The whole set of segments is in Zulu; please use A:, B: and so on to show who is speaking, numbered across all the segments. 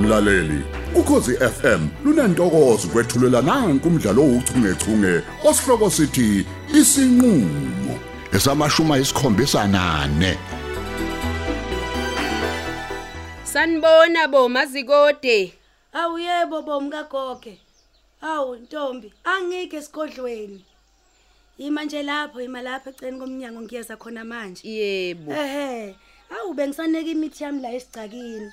A: mlaleli ukhosi FM lunantokozo kwethulela nanku umdlalo ouchungechunge osihloko sithi isinqulo
B: esamashuma isikhombisa nane
C: Sanibona bo mazikode.
D: Awu yebo bomkagoge. Awu Ntombi, angike esigodlweni. Yima nje lapho, yima lapha eceni komnyango ngiyeza khona manje.
C: Yebo.
D: Ehhe. Awu bengisaneka imithi yami la esigcakini.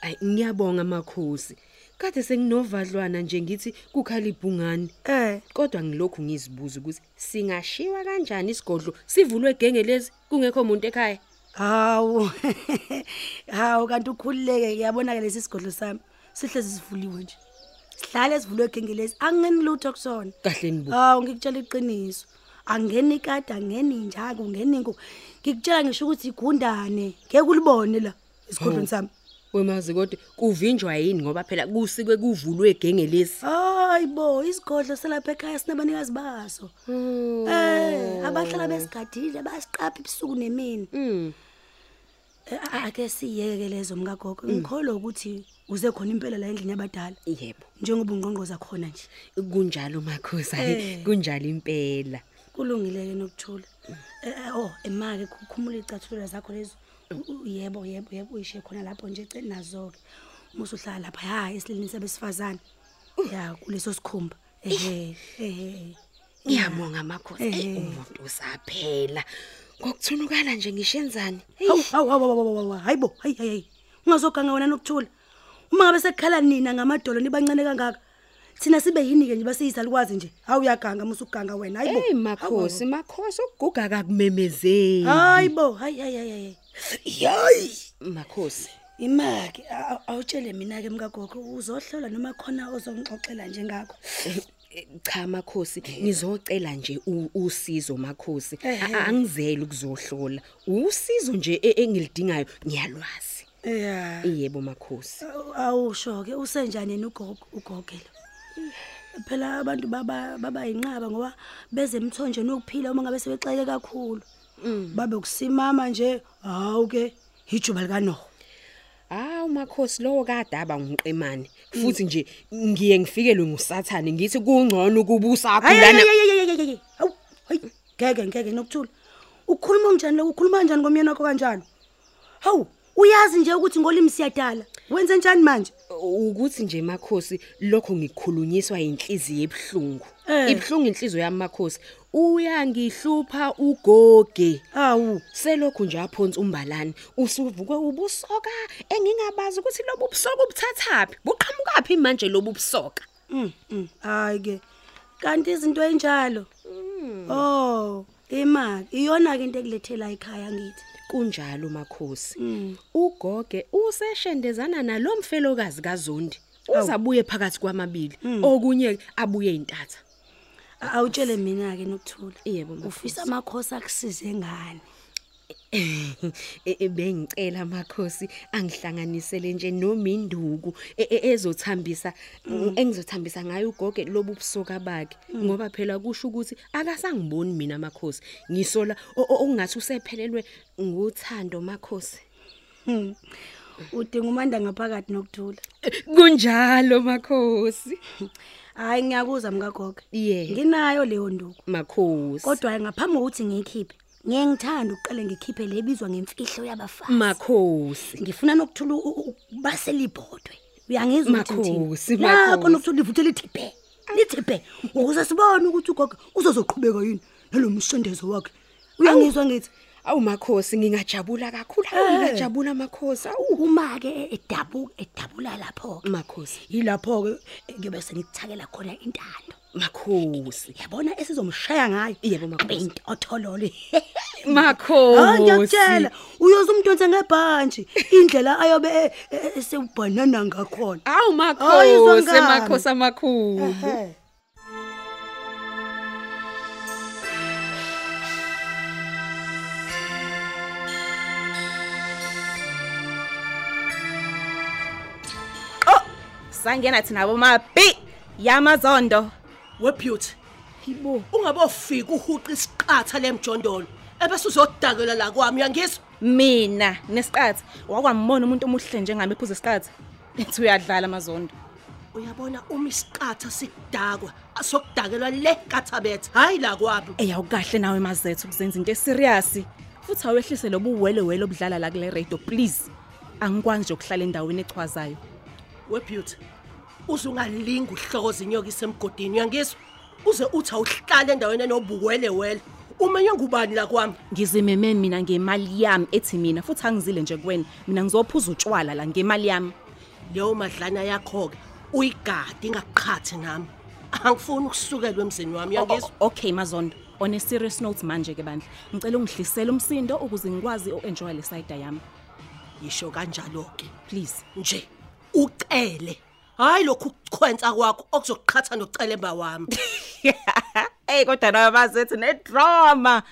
C: Ay ngiyabonga makhosi. Kade senginovadlwana nje ngithi kukhalibhungani.
D: Eh,
C: Kodwa ngilokhu ngizibuza ukuthi singashiwa kanjani isigodlo sivulwe gengelezi kungekho umuntu ekhaya.
D: hawu. Hawu kanti ukhululeke uyabonaka lesi sigodlo sami. Sihlezi sivuliwe nje. Sihlale sivulwe gengelezi, angeni lutho kusona.
C: Kahle nibo.
D: Hawu ngikutshela iqiniso. Angeni kade angeni njalo ngeni ngu. Ngikutshela ngisho ukuthi igundane. Ngeke ulibone la esigodlweni sami.
C: Wemazikode kuvinjwa yini ngoba phela kusikwe kuvulwe gengelezi.
D: Hayibo, isigodlo selapha ekhaya sinabanikazi baso. Eh, abahlala besigadile basiqapha ebusuku nemini.
C: Mm.
D: Eh, a- Ake siyeke lezo mkagogo. Ngikholwa ukuthi uze khona impela la endlini yabadala.
C: Yebo.
D: Njengoba ungqongqoza khona nje.
C: Kunjalo makhosi. hayi,
D: Eh.
C: Kunjalo impela.
D: Kulungile ke nokuthula. Eh, Oh, emake ukukhumula icathulo zakho lezo. U- u- Yebo, yebo, yebo uyishe khona lapho nje eceni nazo ke. Musu hlala lapha ha esilini sabesifazane. Ya, kuleso sikhumba. Eh, Ehhe, ehhe.
C: Ngiyabonga makhosi. Ey,
D: Eh.
C: Umuntu usaphela. Ngokuthunukala nje ngishenzani? Hey,
D: Hawu hawu hawu hawu, hawu, hawu, hayibo hayi hayi hayi. Ungazoganga wena nokuthula. Uma ngabe sekukhala nina ngamadolo nibancane kangaka. Thina sibe yini ke nje basiyisa likwazi nje. Hawu uyaganga musu uganga wena hayibo.
C: Hey makhosi, makhosi Ah, ukuguga kakumemezeli.
D: Hayibo hayi hayi hayi, hayi. Yayi.
C: Makhosi.
D: Imaki aw- awutshele mina ke mkagogo uzohlola noma khona ozongixoxela njengakho.
C: Eh, Cha makhosi, ngizocela nje u- usizo makhosi.
D: Eh, eh.
C: A- Angizeli ukuzohlola. Usizo nje e- engilidingayo ngiyalwazi.
D: Yeah.
C: Yebo makhosi.
D: Awusho ke usenjani yena ugogo ugogela. Phela abantu baba baba yinqaba ngoba beze emthonje nokuphila uma ngabe sebexele kakhulu. Babe kusimama nje hawu ke ijuba likanoho.
C: Hawu makhosi lowo kadaba ngiqemane. Futhi nje ngiye ngifikelwe ngusathane ngithi kungcono ukubusa
D: Hayi
C: kulana.
D: hayi hawu hayi ngeke ngeke nokuthula. Ukhuluma unjani lo ukhuluma kanjani komyeni wakho kanjalo? Hawu uyazi nje ukuthi ngolimi siyadala. Wenze njani manje?
C: ukuthi nje makhosi lokho ngikhulunyiswa inhliziyo ebhlungu
D: Eh.
C: ibhlungu inhliziyo yami makhosi uyangihlupha ugoge
D: Hawu
C: selokhu nje aphonsa umbalani usuvuke ubusoka engingabazi ukuthi lobu busoka ubuthathaphi buqhamukaphi manje lobu busoka
D: Mm, mm, hayi ke. Kanti izinto enjalo. Oh, imali. Iyona ke into ekulethela ekhaya ngithi.
C: kunjalo makhosi
D: Mm.
C: ugoge useshendezana nalomfelokazi kazondi uzabuye phakathi kwamabili okunye abuye intatha
D: A- Awutshele mina ke nokuthula.
C: Yebo, makhosi.
D: Ufisa amakhosi akusize ngani?
C: Eh, eh, bengicela makhosi angihlanganisele nje nominduku e- e- ezothambisa Mm. engizothambisa ngayo ugoge lobu busoka bakhe ngoba phela kusho ukuthi akasangiboni mina makhosi ngisola o- o- okungathi usephelelwe ngothando makhosi
D: Hmm. Udinga umanda ngaphakathi nokuthula.
C: kunjalo makhosi
D: Hayi ngiyakuzwa mkagogo.
C: yeah
D: Nginayo leyo nduku.
C: makhosi
D: Kodwa ngaphambi kokuthi ngiyikhiphe, ngeke ngithanda ukuqale ngikhiphe lebizwa ngemfihlo yabafazi.
C: makhosi
D: ngifuna nokuthula baselibhodwe uyangizwa ukuthi
C: Makhosi,
D: ngithini? Nakho
C: makhosi.
D: nokuthula livuthe lithiphe lithiphe ukuze sibone ukuthi ugogo uzozoqhubeka yini nalo mshendezo wakhe uyangizwa ngithi
C: awu makhosi ngingajabula kakhulu awu ngingajabula makhosi awu
D: uma-ke edabu edabula lapho-ke
C: makhosi
D: yilapho-ke ngiyobe sengikuthakela khona intando
C: makhosi
D: yabona esizomshaya ngayo
C: Yebo, makhosi.
D: Abe intotholole
C: makhosi
D: hayi ngiyakutshela uyoze umdonse ngebhantshi indlela ayobe e- e- esewubhanana ngakhona
C: Awu
D: Hayi,
C: makhosi
D: zongani.
C: makhosi amakhulu.
D: Ehhe.
E: Oh, sangena thina bomabhi yamazondo
F: webeauty yibo ungabofika uhuqa isiqatha lemjondolo ebese uzodakela la kwami uyangizwa
E: mina nesiqatha wakwambona umuntu omuhle njengami ephuza isiqatha ethi uyadlala amazondo
F: uyabona uma isiqatha sikudakwa asokudakelwa le kathabetha hayi la kwabo
E: eyawukahle nawe mazethu kuzenza into eserious futhi awehlise lobu wele wele obudlala la kule radio please angikwazi nje ukuhlala endaweni echwazayo
F: webeauty uzungalinga uhlokoza inyoka isemgodini uyangizwa uze uthi awuhlale endaweni enobuwelewele umenywe ngubani la kwami
E: ngizimeme mina ngemali yami ethi mina futhi angizile nje kuwena mina ngizophuza utshwala la ngemali yami
F: leyo madlana yakho-ke uyigade ingaqhathi nami angifuni ukusukelwa emzini wami
E: O-
F: uyangizwa
E: o- okay mazondo on a serious note manje ke bandla ngicela ungihlisele umsindo ukuze ngikwazi uenjoy le side yami
F: yisho kanjalo-ke
E: please
F: nje ucele hhayi lokhu ukukhwensa kwakho okuzokuqhatha nocelemba wami
E: hey kodwa nawe mazethu ne drama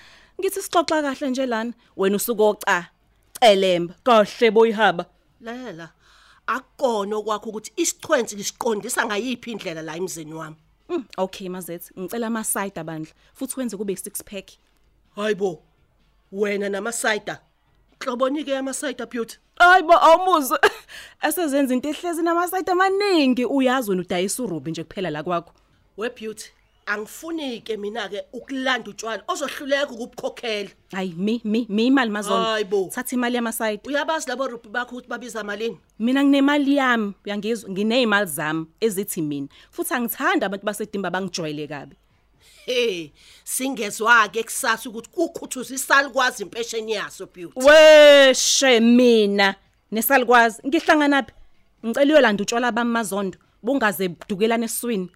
E: ngithi sixoxa kahle nje lana wena usukoca celemba kahle boyihaba
F: lela akukona okwakho ukuthi isichwenzi lisiqondisa ngayiphi indlela la emzini wami
E: Mm, okay mazethu ngicela ama side abandla futhi wenze kube 6 pack
F: hayi bo wena namasayida hlobonike yamasayida beauty
E: Hayibo awumuzwe. Asezenza into ehlezi namasayidi amaningi uyazi wena udayisa urubi nje kuphela la kwakho.
F: webeauty angifunike mina-ke ukulanda utshwala ozohluleka ukubukhokhela
E: Hayi mi mi mi imali mazono.
F: Hayibo.
E: Thatha imali yamasayidi.
F: uyabazi labo rubhi bakho ukuthi babiza malini
E: Mina nginemali yami, uyangizwa, ngineyimali zami ezithi mina. Futhi angithanda abantu basedimba bangijoyele kabi.
F: he singezwa-ke kusasa ukuthi kukhuthuza isalikwazi impesheni yaso beauty
E: Weshe mina nesalikwazi ngihlangana phi? Ngicela uyolanda utshwala bami mazondo. Bungaze budukelana eswini.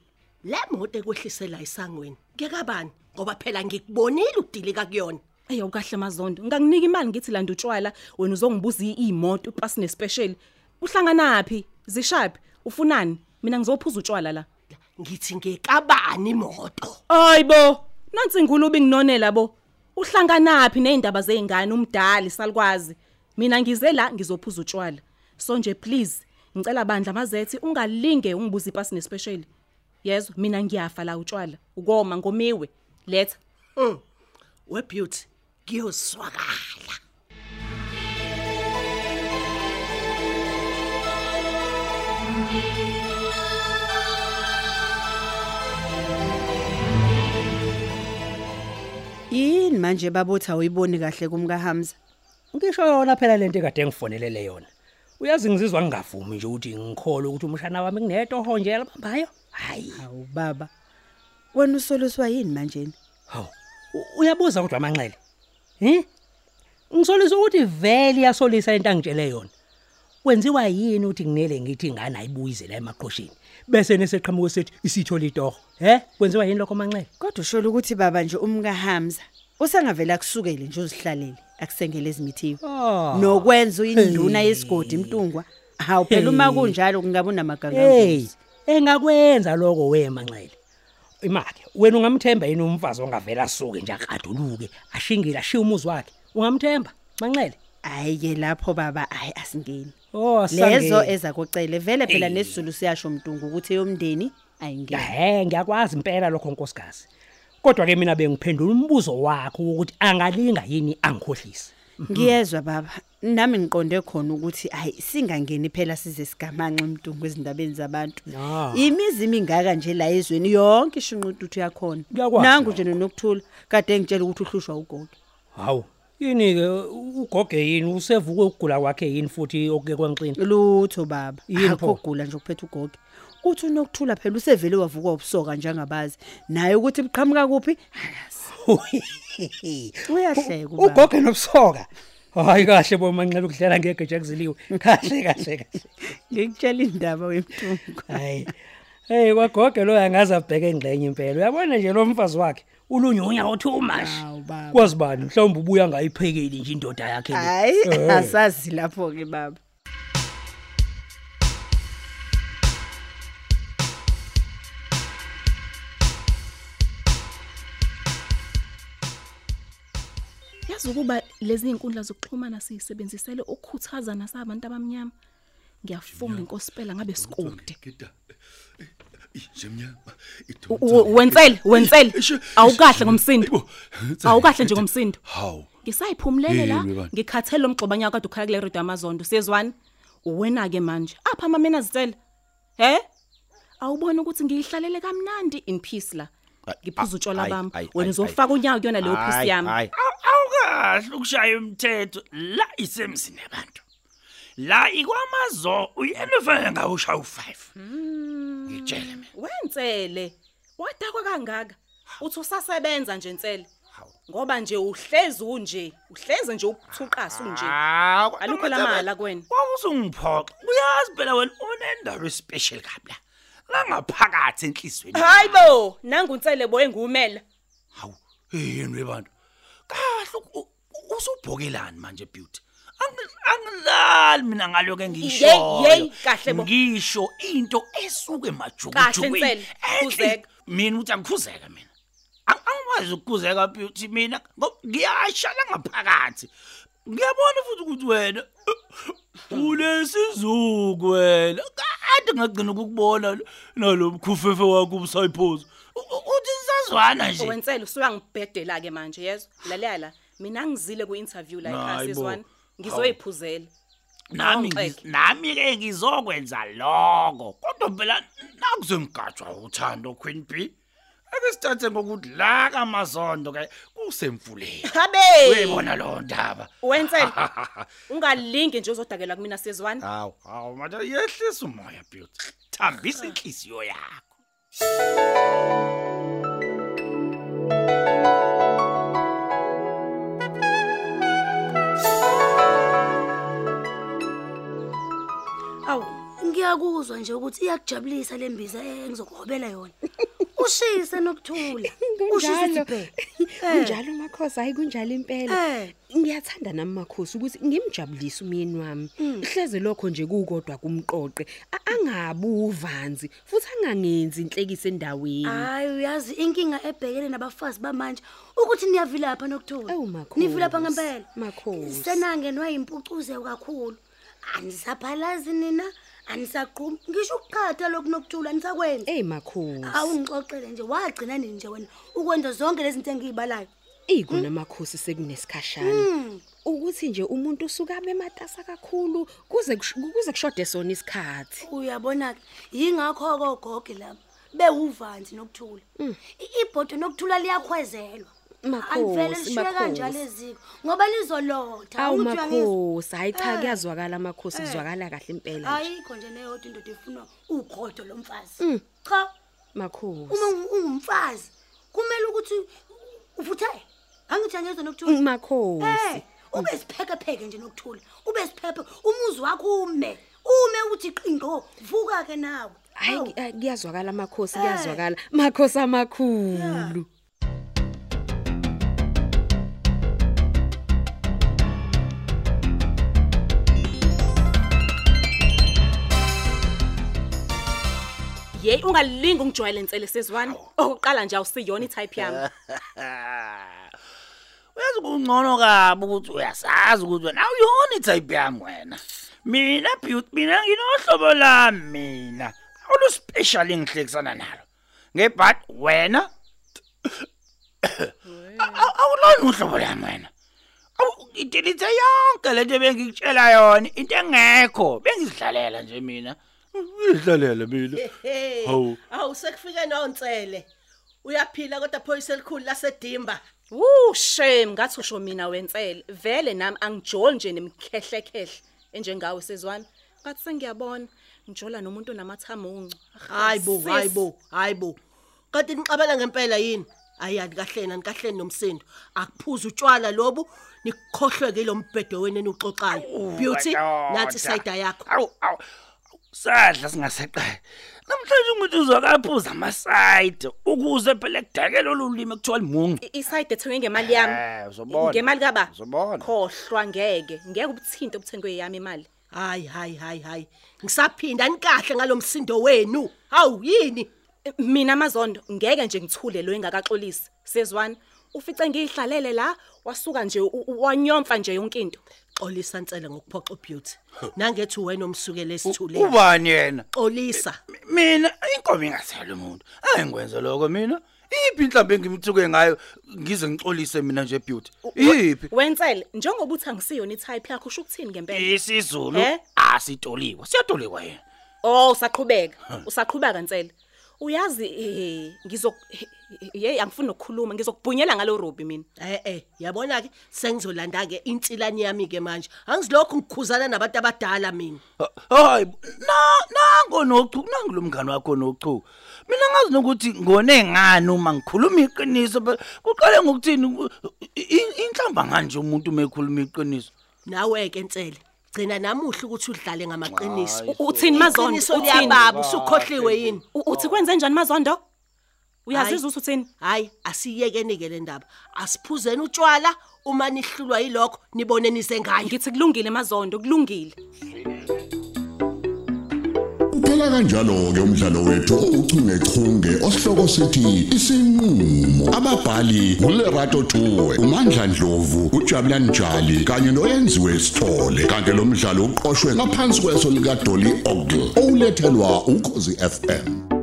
F: le moto ekwehlisela isangweni ngekabani ngoba phela ngikubonile ukudilika kuyona
E: Ey awukahle mazondo nginganginika imali ngithi landa utshwala wena uzongibuza iimoto ipasi nespecial uhlanganaphi zishaphi ufunani mina ngizophuza utshwala la
F: ngithi ngekabani imoto
E: Hayibo nansi ingulube nginonela bo uhlanganaphi neindaba zeingane umdali salikwazi mina ngize la ngizophuza utshwala so nje please ngicela bandla mazethi ungalinge ungibuza ipasi nespecial yezwa mina ngiyafa la utshwala ukoma ngomiwe letha
F: webeauty ngiyozwakala
G: yini manje babutha uyiboni kahle kumka Hamza
H: ngisho yona phela lento ekade ngifonelele yona uyazi ngizizwa ngingavumi nje ukuthi ngikhole ukuthi umshana wami kunento honje elibambayo hayi
G: hawu baba wena usoluswa yini manje
H: hawu u- uyabuza kodwa amanxele hi ngisolisa ukuthi vele iyasolisa lento angitshele yona kwenziwa yini ukuthi nginele ngithi ingane ayibuyizela emaqhosheni bese neseqhamuka sethi isithole itoho he kwenziwa yini lokho manxele
G: kodwa usho ukuthi baba nje umka Hamza usengavela kusukele nje uzihlalele akusengele ezimithiwe
H: Ah.
G: nokwenza uyinduna yesigodi imtungwa hawu phela uma
H: Hey.
G: kunjalo kungabe
H: hey
G: unamagagawuzi
H: engakwenza lokho wemanxele imake wena ungamthemba yini umfazi ongavela asuke nje akaduluke ashingile ashiye umuzi wakhe ungamthemba manxele
G: hayi ke lapho baba hayi asingeni
H: oh
G: lezo
H: sange-
G: ezakucele vele phela nesizulu siyasho mtungu ukuthi eyomndeni ayingeni
H: ehe ngiyakwazi impela lokho nkosikazi kodwa ke mina bengiphendula umbuzo wakho ukuthi angalinga yini angikhohlise
G: ngiyezwa baba nami ngiqonde khona ukuthi hayi singangeni phela size sigamanxa mtungu ezindabeni zabantu
H: Ah.
G: imizi imingaka nje la ezweni yonke ishunqututhu yakhona
H: Kuyakwazi
G: nangu nje nonokuthula kade ngitshela ukuthi uhlushwa ugogo
H: hawu yini-ke ugoge yini usevuke ukugula kwakhe yini futhi okuke kwanxini
G: lutho baba
H: Yini pho?
G: akho kugula nje kuphethe ugogo uthi unokuthula phela usevele wavuka ubusoka njengabazi naye ukuthi buqhamuka kuphi akazi uyahleka ubaba.
H: ugoge nobusoka hayi kahle bomanxele ukudlela ngegeja kuziliwe kahle kahle kahle
G: ngikutshela indaba wemtungu
H: hayi hey kwagoge lo angaze abheke engxenye impela uyabona nje lo mfazi wakhe ulunye unyawo too much
G: Hawu, baba.
H: kwazi bani mhlawumbe ubuya ngayiphekeli nje indoda yakhe le.
G: hayi
H: Eh.
G: asazi lapho-ke baba
E: yazi ukuba lezi inkundla zokuxhumana siyisebenzisele ukukhuthaza nasabantu abamnyama ngiyafunga inkosi phela ngabe sikude
I: Njemnyama.
E: U- wensele wensele awukahle ngomsindo awukahle nje ngomsindo
I: Haw.
E: ngisayiphumulele la
I: Yini webani?
E: ngikhathele umgxobanyaka kade ukhala kule radio yamazondo siyezwani uwena ke manje apha amamena zicela he awubona ukuthi ngiyihlalele kamnandi in peace la ngiphuza utshwala
I: ayi,
E: bami
I: ayi,
E: wena
I: ayi,
E: uzofaka unyawo kuyona leyo peace
I: Hayi,
E: yami
I: hayi.
J: awukahle ukushaya umthetho la isemzini abantu la ikwamazo uyelefele ngawushaya u5 ngitshele mina
E: Hmm. wenzele wadakwa kangaka uthi usasebenza nje nsele ngoba nje uhlezi unje uhlezi nje ukuthuqasa unje
J: Hawu,
E: alukho lamala kuwena
J: kwakuzungiphoxa uyazi phela wena unendaba especially kabla la ngaphakathi enhlizweni
E: hayi bo nangu nsele boye ngumela
J: hawu yini bantu kahle u- u- usubhokelani manje beauty Angi- angilali mina ngaloku
E: Yeyi, yeyi, kahle bo.
J: ngisho into esuke
E: Kahle Nsele, khuzeka.
J: Eh, mina uthi angikhuzeka mina Ang- angikwazi ukukhuzeka beauty mina ngo- ngiyashala ngaphakathi ngiyabona futhi ukuthi wena ulesizuku wena kade ngagcina ukukubona nalomkhufefe wakho umsayiphozo uthi sazwana nje
E: owensele usuya ngibhedela ke manje yezwa lalela la mina ngizile ku-interview la
J: Hayi
E: ekhaya
J: bo.
E: sizwana ngizoyiphuzela
J: nami ngiz-
E: Awungixeke.
J: nami ke ngizokwenza lokho kodwa phela nakuzengigajwa uthando Queen B ake sithathe ngokuthi la kamazondo ke kusemfuleni
E: habe
J: uyibona lo ndaba
E: wensele ungalingi nje uzodakela kumina sizwana
J: hawu hawu manje yehlisa umoya beauty thambisa inhliziyo yakho
D: awu ngiyakuzwa nje ukuthi iyakujabulisa le mbiza engizokugobela yona ushise nokuthula ushise isibhe
C: kunjalo makhosi hayi kunjalo impela
D: Eh.
C: ngiyathanda nami makhosi ukuthi ngimjabulise umyeni wami
D: Hmm.
C: hleze lokho nje kukodwa kumqoqe A- angabi uvanzi futhi angangenzi inhlekise endaweni
D: hayi uyazi inkinga ebhekene nabafazi bamanje ukuthi niyavilapha nokuthula
C: Ewu, makhosi.
D: nivilapha ngempela
C: Makhosi.
D: senangenwa yimpucuzeyo kakhulu anisaphalazi nina anisaqhumi ngisho ukuqhatha lokhu nokuthula anisakwenzi
C: Ey Eh, makhosi
D: awungixoxele nje wagcina nini nje wena ukwenza zonke lezi zinto engiyibalayo
C: ikona
D: Hmm.
C: makhosi sekunesikhashana ukuthi nje umuntu usuka bematasa kakhulu kuze kush- kuze kushode sona isikhathi
D: uyabona-ke yingakho kogoge labo bewuvanzi nokuthula I- ibhodo nokuthula liyakhwezelwa alivele
C: Mm. Makhosi,
D: lishiye kanjalo
C: makhosi.
D: eziko ngoba lizolotha
C: awu
D: Ukuthi uyangizwa?
C: makhosi hayi cha
D: Eh.
C: kuyazwakala makhosi
D: Eh.
C: kuzwakala kahle impela nje.
D: ayikho nje neyodwa indoda efuna ugodo
C: Mm.
D: lomfazi cha
C: makhosi
D: uma ungu- ungumfazi kumele ukuthi ufuthele angithi angezwa nokuthula
C: Mm, makhosi
D: Eh, ube siphekepheke nje nokuthula ube siphephe umuzi wakho ume ume uthi qindo vuka-ke nawe
C: hayi
D: Awu.
C: ki- eh, kuyazwakala makhosi kuyazwakala makhosi amakhulu
E: yeyi ungalingi ungijwayele nsele sizwana okuqala nje awusiyona itype yami
J: uyazi kungcono kabi ukuthi uyasazi ukuthi wena awuyona itype yami wena mina beauty mina nginohlobo lami mina oluspecial engihlekisana nalo ngebhat wena A- a- awulona uhlobo lami wena Awu, idelete yonke le nto bengikutshela yona into engekho bengizidlalela nje mina ngizidlalela mina hawu
F: Awu sekufike nontsele. Uyaphila kodwa phoyisa elikhulu lasedimba.
E: wu shame ngathi usho mina wensele vele nami angijoli nje nemikhehlekhehle enjengawe sizwana ngathi sengiyabona ngijola nomuntu onamathamuncu
F: Hayibo, hayibo, hayibo. Kanti nixabela ngempela yini? Ayani kahleni, anikahleni nomsindo. Akuphuza utshwala lobu nikhohlwe ke lo mbhedo wenu enuxoxayo. Beauty, nathi side yakho.
J: Awu awu. Sadla singaseqe. Namhlanje umuntu uzakaphuza amasayide ukuze phela kudakele olulimi ekuthiwa limungi.
E: isayide ethengwe ngemali yami
J: Eh, uzobona.
E: ngemali kaba
J: Uzobona.
E: khohlwa ngeke ngeke ubuthinte obuthengwe yami imali
F: Hayi, hayi, hayi, hayi. Ngisaphinda nikahle ngalomsindo wenu. Hawu yini?
E: E, mina amazondo ngeke nje ngithule lo engakaxolisi sizwana ufice ngiyihlalele la wasuka nje u- u- wanyomfa nje yonke into
F: Xolisa ntsele ngokuphoxa beauty. Nangethi wena omsukele esithuleni.
J: Ubani yena?
F: Xolisa.
J: Mina inkomo ingasela umuntu. Ayengwenze lokho mina. Iphi inhlambe engimthuke ngayo ngize ngixolise mina nje beauty. Iphi?
E: wensele njengoba uthi angisiyona itype yakho usho ukuthini ngempela
J: Isizulu
E: Eh?
J: Ah, sitoliwe. Siyatoliwa yena.
E: Oh, usaqhubeka. Usaqhubeka nsele. Uyazi eh ngizok hey angifuni ukukhuluma ngizokubhunyela ngalo Robi mina.
F: Eh eh yabona ke sengizolanda ke insilani yami ke manje angizilokhu ngikhuzana nabantu abadala mina
J: Hayi, na nango nochu, nangu lomngane wakho nochu. Mina ngazi nokuthi ngone ngani uma ngikhuluma iqiniso, but kuqale ngokuthini u- i- inhlamba kanje umuntu mekhuluma iqiniso.
F: nawe ke nsele gcina namuhle ukuthi udlale ngamaqiniso
E: U- Uthini mazondo?
F: Iqiniso
E: Uthini?
F: liyababa usukhohliwe yini
E: U- Uthi kwenze njani mazondo?
F: Hhayi.
E: Uyazizwa ukuthi uthini?
F: hayi asiyekeni ke le ndaba asiphuzeni utshwala uma nihlulwa yilokho nibonenise ngayo
E: Ngithi kulungile mazondo, kulungile.
A: Kuphela kanjalo ke umdlalo wethu ouchungechunge osihloko sithi isinqulo. Ababhali uLerato Tuwe, uMandla Dlovu, uJabulani Njali kanye noyenziwe Sithole. Kanti lo mdlalo uqoqwwe ngaphansi kweso lika Dolly Ogle. Olethelwa ukhosi FM.